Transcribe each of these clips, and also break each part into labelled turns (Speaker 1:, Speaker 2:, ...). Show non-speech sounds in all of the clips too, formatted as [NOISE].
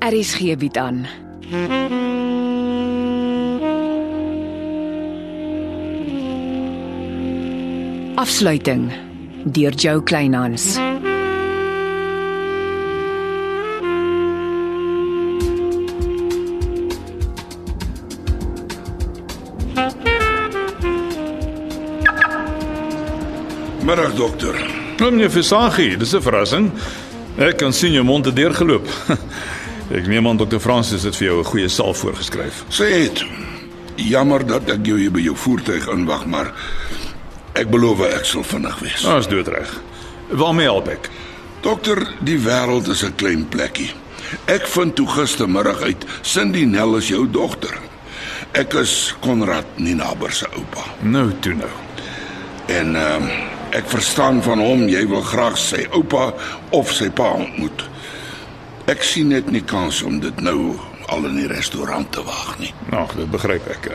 Speaker 1: RSG bied Er aan. Afsluiting deur Jo Kleinhans.
Speaker 2: Middag dokter.
Speaker 3: Klim jy Visagi, dis 'n verrassing. Ek kan sien jou mond het [LAUGHS] deurgeloop. Ek neem aan dokter Francis het vir jou 'n goeie salf voorgeskryf.
Speaker 2: Sê dit. Jammer dat ek jou hier by jou voertuig inwag, maar ek beloof ek sal vinnig wees.
Speaker 3: Ons Ah, doodreg. Waarmee help ek?
Speaker 2: Dokter, die wêreld is 'n klein plekkie. Ek vind toe gistermiddag uit Cindy Nell is jou dogter. Ek is Konrad Ninaber se oupa.
Speaker 3: Nou toe nou.
Speaker 2: En ehm ek verstaan van hom jy wil graag sy oupa of sy pa ontmoet. Ek sien net nie kans om dit nou al in die restaurant te wag nie.
Speaker 3: Ag, dit begryp ek.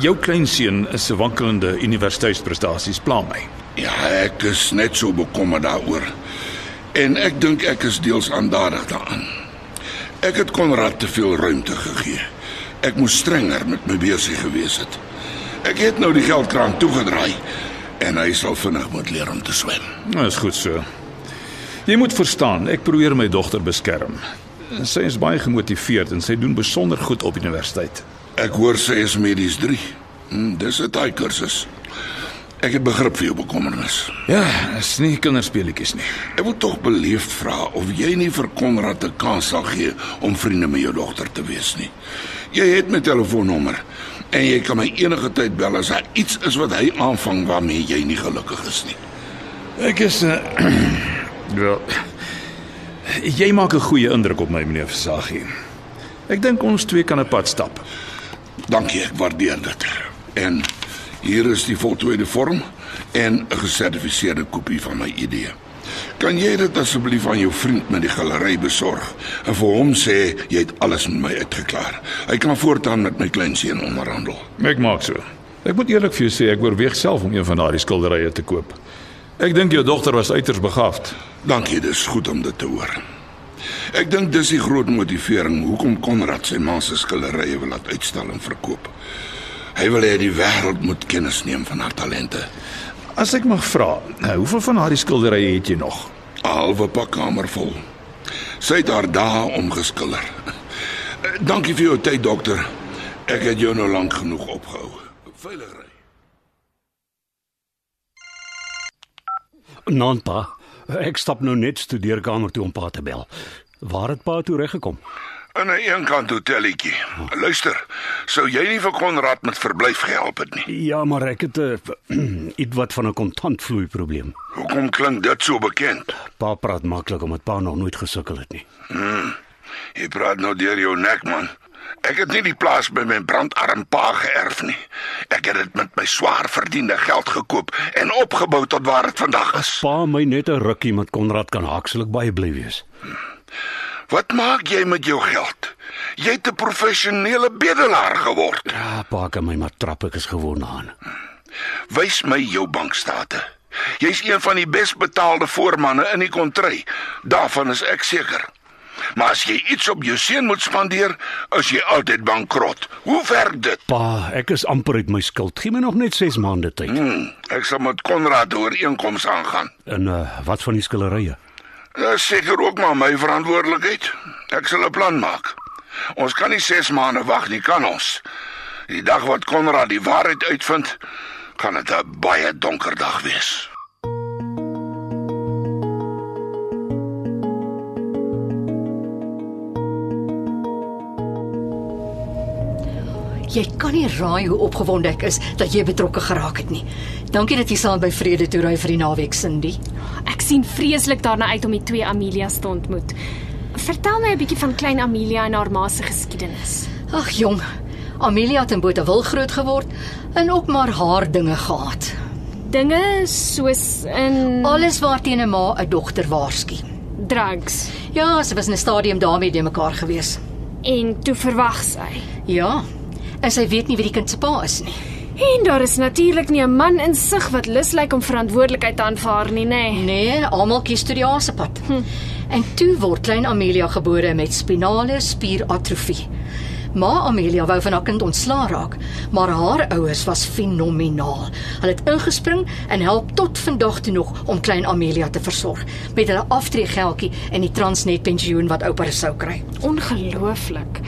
Speaker 3: Jou kleinseun se wankelende universiteitsprestasies pla my.
Speaker 2: Ja, ek is net so bekommerd daaroor. En ek dink ek is deels aandadig daaraan. Ek het Konrad te veel ruimte gegee. Ek moes strenger met my besig gewees het. Ek het nou die geldkraan toegedraai en hy sal vinnig moet leer om te swem.
Speaker 3: Nou is goed so. Jy moet verstaan, ek probeer my dogter beskerm. Sy is baie gemotiveerd en sy doen besonder goed op universiteit.
Speaker 2: Ek hoor sy is medies 3. Hm, dis 'n taai kursus. Ek het begrip vir jou bekommernis.
Speaker 3: Ja, is nie kinderspeletjies nie.
Speaker 2: Ek wil tog beleefd vra of jy nie vir Konrad 'n kans sal gee om vriende met jou dogter te wees nie. Jy het my telefoonnommer en jy kan my enige tyd bel as daar iets is wat hy aanvang waarmee jy nie gelukkig is nie.
Speaker 3: Ek is uh, [CLEARS THROAT] wel jy maak 'n goeie indruk op my meneer Versaggie. Ek dink ons twee kan 'n pad stap.
Speaker 2: Dankie, ek waardeer dit. En hier is die voltooide vorm en 'n gesertifiseerde kopie van my ID. Kan jy dit asseblief aan jou vriend met die galery besorg en vir hom sê jy het alles met my uitgeklaar. Hy kan voortaan met my kleinseun onderhandel.
Speaker 3: Ek maak so. Ek moet eerlik vir jou sê ek oorweeg self om een van daardie skilderye te koop. Ek dink jou dogter was uiters begaafd.
Speaker 2: Dankie, dis goed om dit te hoor. Ek dink dis die groot motivering hoekom Konrad sy ma se skilderye wil laat uitstal en verkoop. Hy wil hê die wêreld moet kennis neem van haar talente.
Speaker 3: As ek mag vra, nou, hoeveel van daardie skilderye het jy nog?
Speaker 2: 'n halwe pakkamer vol. Sy het haar dae omgeskilder. Eh, Dankie vir jou tyd, dokter. Ek het jou nou lank genoeg opgehou. Veilig ry.
Speaker 4: Naan pa. Ek stap nou net studeerkamer toe om pa te bel. Waar het pa toe reggekom?
Speaker 2: In 'n eenkant hotelletjie. Luister, sou jy nie vir Konrad met verblyf gehelp het nie.
Speaker 4: Ja, maar ek het 'n [CLEARS THROAT] iets wat van 'n kontantvloei probleem.
Speaker 2: Hoekom klink dit so bekend?
Speaker 4: Pa praat maklik omdat pa nog nooit gesukkel het nie.
Speaker 2: Jy praat nou deur jou nek, man. Ek het nie die plaas by my brandarm pa geërf nie. Ek het dit met my swaar verdiende geld gekoop en opgebou tot waar dit vandag is.
Speaker 4: Pa my net 'n rukkie met Konrad kan haakslik baie bly wees.
Speaker 2: Wat maak jy met jou geld? Jy het 'n professionele bedelaar geword.
Speaker 4: Ja, pa kan my maar trap ek is gewoond daaraan.
Speaker 2: Wys my jou bankstate. Jy's een van die besbetaalde voormanne in die kontry. Daarvan is ek seker. Maar as jy iets op jou seun moet spandeer, is jy altyd bankrot. Hoe werk dit?
Speaker 4: Pa, ek is amper uit my skuld. Gee my nog net 6 maande tyd.
Speaker 2: Hm, ek sal met Konrad oor einkoms aangaan.
Speaker 4: En uh, wat van die skillerye?
Speaker 2: Dit is seker ook maar my verantwoordelikheid. Ek sal 'n plan maak. Ons kan nie 6 maande wag nie, kan ons? Die dag wat Konrad die waarheid uitvind, gaan dit 'n baie donker dag wees.
Speaker 5: Jy kan nie raai hoe opgewonde ek is dat jy betrokke geraak het nie. Dankie dat jy saam by Vrede toe ry vir die naweek, Cindy.
Speaker 6: Ek sien vreeslik daarna uit om die twee Amelias te ontmoet. Vertel my 'n bietjie van klein Amelia en haar ma se geskiedenis.
Speaker 5: Ag jong, Amelia het in Botawil groot geword en ook maar haar dinge gehad.
Speaker 6: Dinge soos in
Speaker 5: Alles waarteen 'n ma 'n dogter waarsku.
Speaker 6: drugs
Speaker 5: Ja, sy was in 'n stadium daarmee de mekaar gewees.
Speaker 6: en toe verwag sy.
Speaker 5: Ja. En sy weet nie wie die kind se pa is nie.
Speaker 6: En daar is natuurlik nie 'n man in sig wat lus lyk om verantwoordelikheid te aanvaar nie, nê? Nee.
Speaker 5: Nee, almal kies toe die haase pad. Hm. En toe word klein Amelia gebore met spinale spieratrofie. Ma Amelia wou van haar kind ontslaa raak, maar haar ouers was fenomenaal. Hulle het ingespring en help tot vandag toe nog om klein Amelia te versorg met hulle aftreegeldjie en die Transnet pensioen wat oupa sou kry.
Speaker 6: Ongelooflik.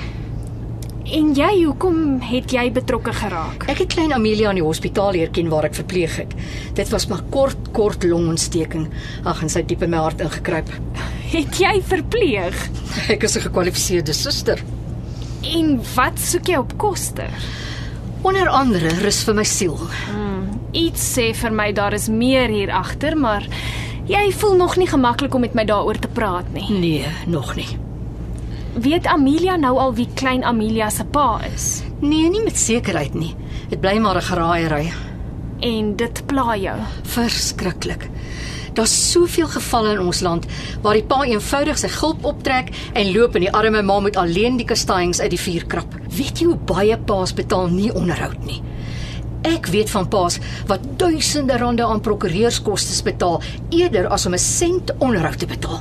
Speaker 6: En jy, hoekom het jy betrokke geraak?
Speaker 5: Ek het klein Amelia in die hospitaal leer ken waar ek verpleeg het. Dit was maar kort kort longontsteking. Ag, en sy het diep in my hart ingekruip. [LAUGHS]
Speaker 6: Het jy verpleeg?
Speaker 5: Ek is 'n gekwalifiseerde suster.
Speaker 6: En wat soek jy op koster?
Speaker 5: Onder andere rus vir my siel.
Speaker 6: Iets sê vir my daar is meer hier agter, maar jy voel nog nie gemaklik om met my daaroor te praat nie.
Speaker 5: Nee, nog nie.
Speaker 6: Weet Amelia nou al wie klein Amelia se pa is?
Speaker 5: Nee, nie met sekerheid nie. Dit bly maar 'n geraaiery.
Speaker 6: En dit pla jou.
Speaker 5: Verskriklik. Daar's soveel gevalle in ons land waar die pa eenvoudig sy gulp optrek en loop en die arme ma moet alleen die kastanjings uit die vuur krap. Weet jy hoe baie paas betaal nie onderhoud nie? Ek weet van paas wat duisende rande aan prokureurskoste betaal eerder as om 'n sent onderhoud te betaal.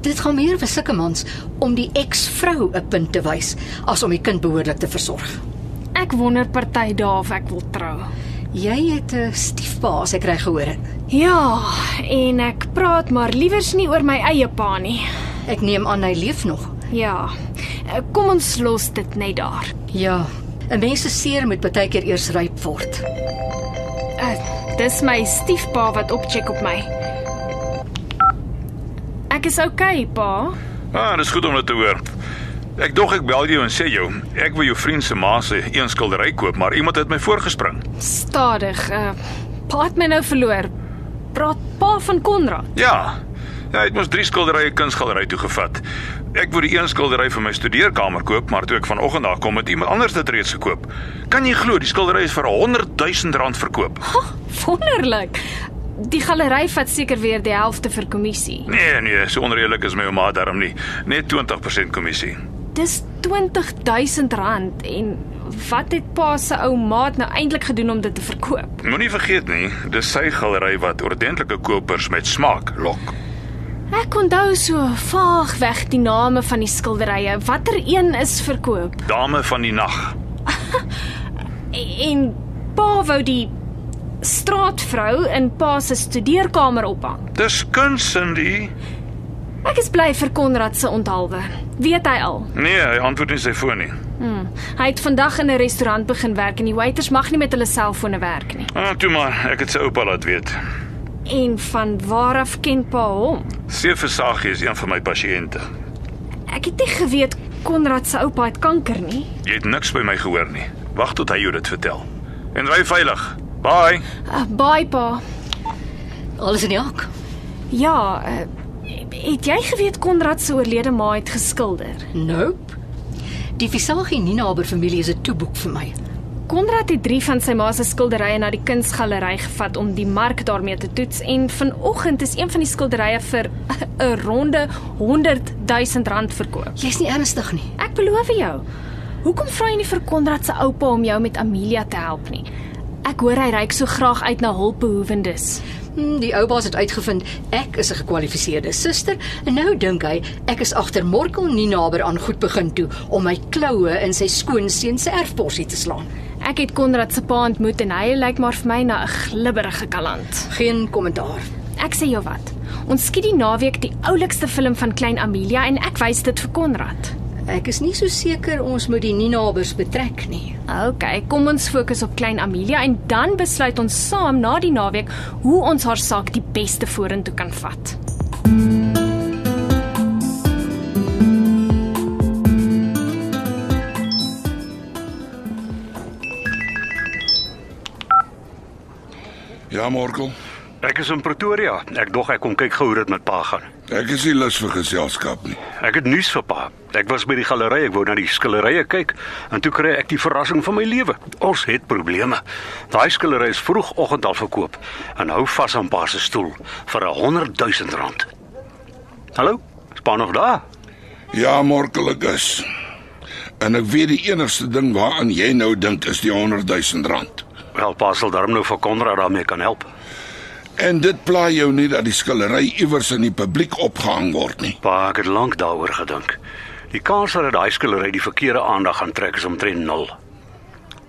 Speaker 5: Dit gaan meer vir sulke mans om die eksvrou 'n punt te wys as om die kind behoorlik te versorg.
Speaker 6: Ek wonder party dae of ek wil trou.
Speaker 5: Jy het 'n stiefpa as ek reg gehoor het.
Speaker 6: Ja, en ek praat maar liewers nie oor my eie pa nie.
Speaker 5: Ek neem aan hy leef nog.
Speaker 6: Ja. Kom ons los dit net daar.
Speaker 5: Ja, 'n mens se seer moet baie keer eers ryp word.
Speaker 6: Uh, dis my stiefpa wat opcheck op my. Ek is oukei, okay, pa.
Speaker 7: Ah, dis goed om dit te hoor. Ek dog ek bel jou en sê jou, ek wil jou vriend se ma se een skildery koop, maar iemand het my voorgespring.
Speaker 6: Stadig. Uh, pa het my nou verloor. Praat pa van Konrad. [LAUGHS]
Speaker 7: Ja. Hy het mos drie skilderye kunsgalery toe gevat. Ek wou die een skildery vir my studeerkamer koop, maar toe ek vanoggend daar kom het iemand anders dit reeds gekoop. Kan jy glo die skildery is vir 100 000 rand verkoop?
Speaker 6: Wonderlik. Die galery vat seker weer die helfte vir kommissie.
Speaker 7: Nee nee, so onredelik is my ouma daarom nie. Net 20% kommissie.
Speaker 6: Dis R20000 en wat het pa se ou maat nou eintlik gedoen om dit te verkoop?
Speaker 7: Moenie vergeet nie, dis sy galery wat ordentlike kopers met smaak lok.
Speaker 6: Ek onthou so vaag weg die name van die skilderye. Watter een is verkoop?
Speaker 7: Dame van die nag.
Speaker 6: En pa wou die straatvrou in pa se studeerkamer ophang.
Speaker 7: Dis kuns Cindy.
Speaker 6: Ek is bly vir Konrad se onthaalwe. Weet hy al?
Speaker 7: Nee, hy antwoord nie sy foon nie.
Speaker 6: Hmm. Hy het vandag in 'n restaurant begin werk en die waiters mag nie met hulle selfone werk nie.
Speaker 7: Ah, toe maar, ek het sy oupa laat weet.
Speaker 6: En van waar af ken pa hom?
Speaker 7: Seeversagie is een van my pasiënte.
Speaker 6: Ek het nie geweet Konrad se oupa het kanker nie.
Speaker 7: Jy het niks by my gehoor nie. Wag tot hy jou dit vertel. En ry veilig. Bye.
Speaker 6: Uh, bye pa.
Speaker 5: Alles in die hak.
Speaker 6: Ja, uh, het jy geweet Konrad se oorlede ma het geskilder?
Speaker 5: Nope. Die Visagie Nina oor familie is 'n toeboek vir my.
Speaker 6: Konrad het 3 van sy ma se skilderye na die kunsgalery gevat om die mark daarmee te toets en vanoggend is een van die skilderye vir [LAUGHS] 'n ronde 100 000 rand verkoop.
Speaker 5: Jy's nie ernstig nie.
Speaker 6: Ek beloof jou. Hoekom vra jy nie vir Konrad se oupa om jou met Amelia te help nie? Ek hoor hy reik so graag uit na hulpbehoewendes.
Speaker 5: Hm, Die ou baas het uitgevind ek is 'n gekwalifiseerde suster en nou dink hy ek is agter Morkel nie naby aan goed begin toe om my kloue in sy skoonseun se erfporsie te slaan.
Speaker 6: Ek het Konrad se pa ontmoet en hy lyk maar vir my na 'n glibberige kaland.
Speaker 5: Geen kommentaar.
Speaker 6: Ek sê jou wat. Ons skiet die naweek die oulikste film van Klein Amelia en ek wys dit vir Konrad.
Speaker 5: Ek is nie so seker ons moet die Ninabers betrek nie.
Speaker 6: OK, kom ons fokus op Klein Amelia en dan besluit ons saam na die naweek hoe ons haar saak die beste vorentoe kan vat.
Speaker 2: Ja, Morkel.
Speaker 4: Ek is in Pretoria. Ek dog ek kom kyk gou hoe dit met pa gaan.
Speaker 2: Ek is nie lus vir geselskap nie.
Speaker 4: Ek het nuus vir pa. Ek was by die galery, ek wou na die skilderye kyk en toe kry ek die verrassing van my lewe. Ons het probleme. Daai skildery is vroegoggend al verkoop en hou vas aan pa se stoel vir 'n 100 000 rand. Hallo? Span nog daar?
Speaker 2: Ja, Morkel ek is. En ek weet die enigste ding waaraan jy nou dink is die 100 000 rand.
Speaker 4: Wel, pa sal darm nou vir Konrad daarmee kan help.
Speaker 2: En dit pla jou nie dat die skillery iewers in die publiek opgehang word nie.
Speaker 4: Pa, ek het lank daaroor gedink. Die kans dat daai skillery die verkeerde aandag gaan trek is omtrent 0.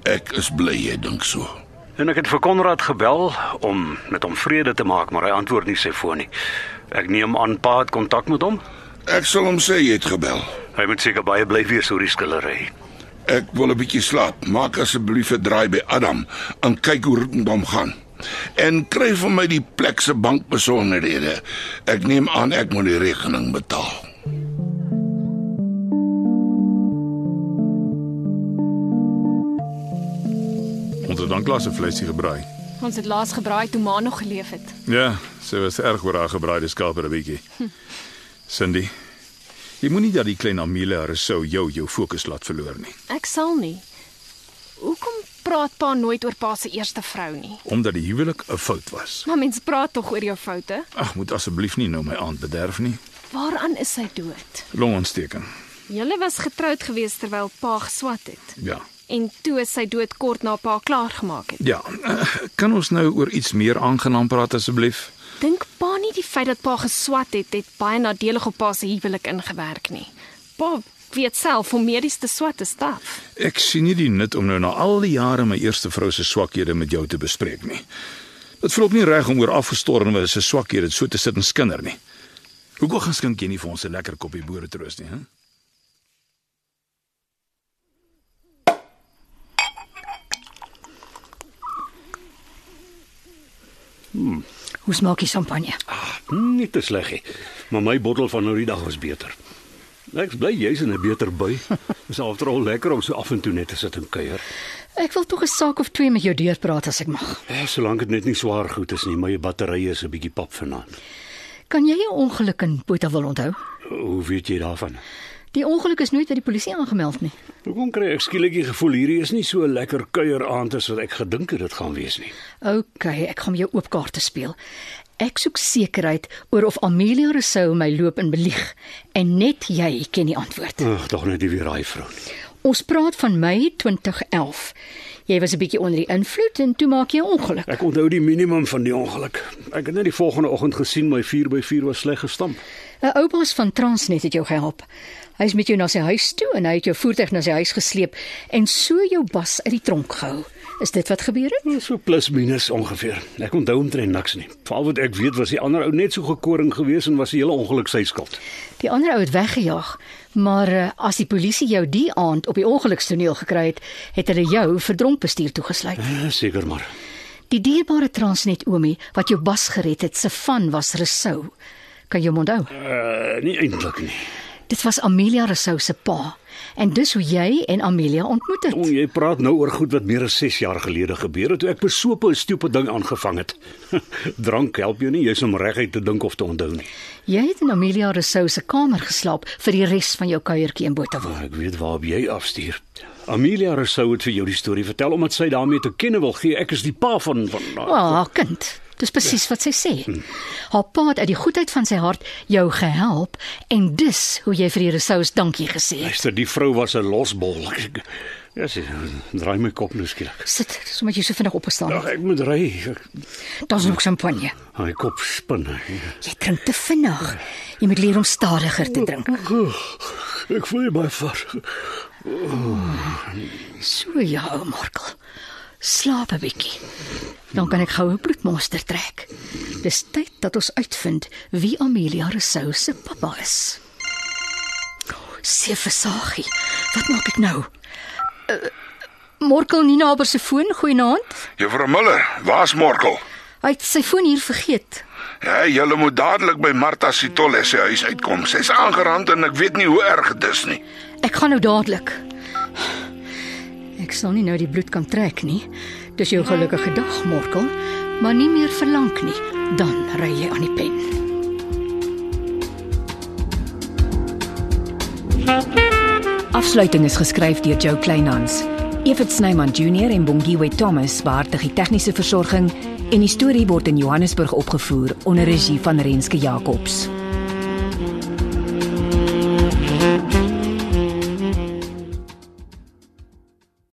Speaker 2: Ek is bly jy dink so.
Speaker 4: En ek het vir Konrad gebel om met hom vrede te maak, maar hy antwoord nie sy foon nie. Ek neem aan pa het kontak met hom.
Speaker 2: Ek sal hom sê jy het gebel.
Speaker 4: Hy moet seker baie bly wees oor die skillery.
Speaker 2: Ek wil 'n bietjie slaap. Maak asseblief 'n draai by Adam en kyk hoe Rotendam gaan. En kry vir my die plek se bankbesonderhede. Ek neem aan ek moet die rekening betaal.
Speaker 3: Ons het dan klasse vleisie gebraai.
Speaker 6: Ons het laas gebraai toe ma nog geleef het.
Speaker 3: Ja, sy was erg oor haar gebraaide skaap en 'n bietjie. Cindy, jy moenie dat die klein Amelia haar sou jou jou fokus laat verloor nie,
Speaker 6: Ek sal nie. Hoekom praat pa nooit oor pa se eerste vrou nie?
Speaker 3: omdat die huwelik 'n fout was.
Speaker 6: Maar mens praat tog oor jou foute.
Speaker 3: Ag, moet asseblief nie nou my aand bederf nie.
Speaker 6: Waaraan is sy dood?
Speaker 3: Longontsteking.
Speaker 6: Julle was getroud gewees terwyl pa geswat het.
Speaker 3: Ja.
Speaker 6: En toe is sy dood kort na pa klaar gemaak het.
Speaker 3: Ja, eh, kan ons nou oor iets meer aangenaam praat asseblief?
Speaker 6: Dink pa nie die feit dat pa geswat het het baie nadelig op pa se huwelik ingewerk nie. Pa weet self hoe medies te swat is taaf.
Speaker 3: Ek sien nie die nut om nou na al die jare my eerste vrou se swakhede met jou te bespreek nie. Dit voel ook nie reg om oor afgestorwe se swakhede so te sit en skinder nie. Hoekom gaan skink jy nie vir ons 'n lekker koppie boere troos nie, hè?
Speaker 5: Hoe smaak die champagne?
Speaker 4: Nie te sleg nie, maar my bottel van nou die dag was beter. Ek's bly jy's in 'n beter [LAUGHS] by. Dis afterall lekker om so af en toe net te sit en kuier.
Speaker 5: Ek wil tog 'n saak of twee met jou deurpraat as ek mag.
Speaker 4: Eh, Solank dit net nie swaar goed is nie, my batterye is 'n bietjie pap vanaand.
Speaker 5: Kan jy 'n ongeluk in Botawil onthou?
Speaker 4: Hoe weet jy daarvan?
Speaker 5: Die ongeluk is nooit by die polisie aangemeld nie.
Speaker 4: Hoekom kry ek skielik die gevoel hierdie is nie so 'n lekker kuier aand as wat ek gedink het dit gaan wees nie.
Speaker 5: OK, ek gaan jou oop kaarte speel. Ek soek sekerheid oor of Amelia Rousseau my loop en belieg en net jy ken die antwoord.
Speaker 4: Ag, tog net nie weer daai vrou nie.
Speaker 5: Ons praat van Mei 2011. Jy was 'n bietjie onder die invloed en toe maak jy 'n ongeluk.
Speaker 4: Ek onthou die minimum van die ongeluk. Ek het net die volgende oggend gesien my 4x4 was sleg gestamp.
Speaker 5: 'n Oupas van Transnet het jou gehelp. Hy is met jou na sy huis toe en hy het jou voertuig na sy huis gesleep en so jou bas uit die tronk gehou. Is dit wat gebeur het?
Speaker 4: So plus minus ongeveer. Ek onthou omtrent niks nie. Veral wat ek weet was die ander ou net so gekoring geweest en was die hele ongeluk sy skuld.
Speaker 5: Die ander ou het weggejaag, maar uh, as die polisie jou die aand op die ongelukstoneel gekry het, het hulle jou vir dronkbestuur toegesluit.
Speaker 4: Ja, seker maar.
Speaker 5: Die dierbare Transnet oomie wat jou bas gered het, se van was Rousseau. Kan jy hom onthou?
Speaker 4: Uh, nie eintlik nie.
Speaker 5: Dit was Amelia Rousseau se pa en dis hoe jy en Amelia ontmoet
Speaker 4: O,
Speaker 5: het.
Speaker 4: jy praat nou oor goed wat meer as 6 jaar gelede gebeur het toe ek besoop 'n stupid ding aangevang het. [LAUGHS] Drank help jou nie, jy's om reguit te dink of te onthou nie.
Speaker 5: Jy het in Amelia Rousseau se kamer geslaap vir die res van jou kuiertjie in Botawil.
Speaker 4: Maar ek weet waarop jy afstuur. Amelia Rousseau het vir jou die storie vertel omdat sy daarmee te kenne wil gee. Ek is die pa van van
Speaker 5: Ja, haar kind. Dis presies wat sy sê. Haar pa het uit die goedheid van sy hart jou gehelp en dis hoe jy vir die resous dankie gesê het.
Speaker 4: Luister, die vrou was 'n losbol. Ek- Ja, sy draai my kop nou skielik.
Speaker 5: Sit, sommer jy so vinnig opgestaan.
Speaker 4: Ag, ek moet ry. Ek-
Speaker 5: Daar's nog champagne.
Speaker 4: My kop spin. Ek-
Speaker 5: Jy drink te vinnig. Jy moet leer om stadiger te drink.
Speaker 4: Ek voel my vas.
Speaker 5: So ja, ou Markel. Slaap 'n bietjie. Dan kan ek gou 'n bloedmonster trek. Dis tyd dat ons uitvind wie Amelia Rousseau se pappa is. Sefasagie. Wat maak ek nou? Uh, Markel Nina oor sy foon, goeienaand.
Speaker 2: Juffrou Miller, waar's Morkel?
Speaker 5: Hy het sy foon hier vergeet.
Speaker 2: Ja, julle moet dadelik by Martha Sitole se huis uitkom. Sy's aangerand en ek weet nie hoe erg dit is nie.
Speaker 5: Ek gaan nou dadelik. Ek sal nie nou die bloed kan trek nie. Dis jou gelukkige dag, Markel, maar nie meer verlang nie. Dan ry jy aan die pen.
Speaker 1: Afsluiting is geskryf deur Jo Kleinhans. Evit Snyman Junior en Bongwe Thomas beheerdig die tegniese versorging en die storie word in Johannesburg opgevoer onder regie van Renske Jacobs.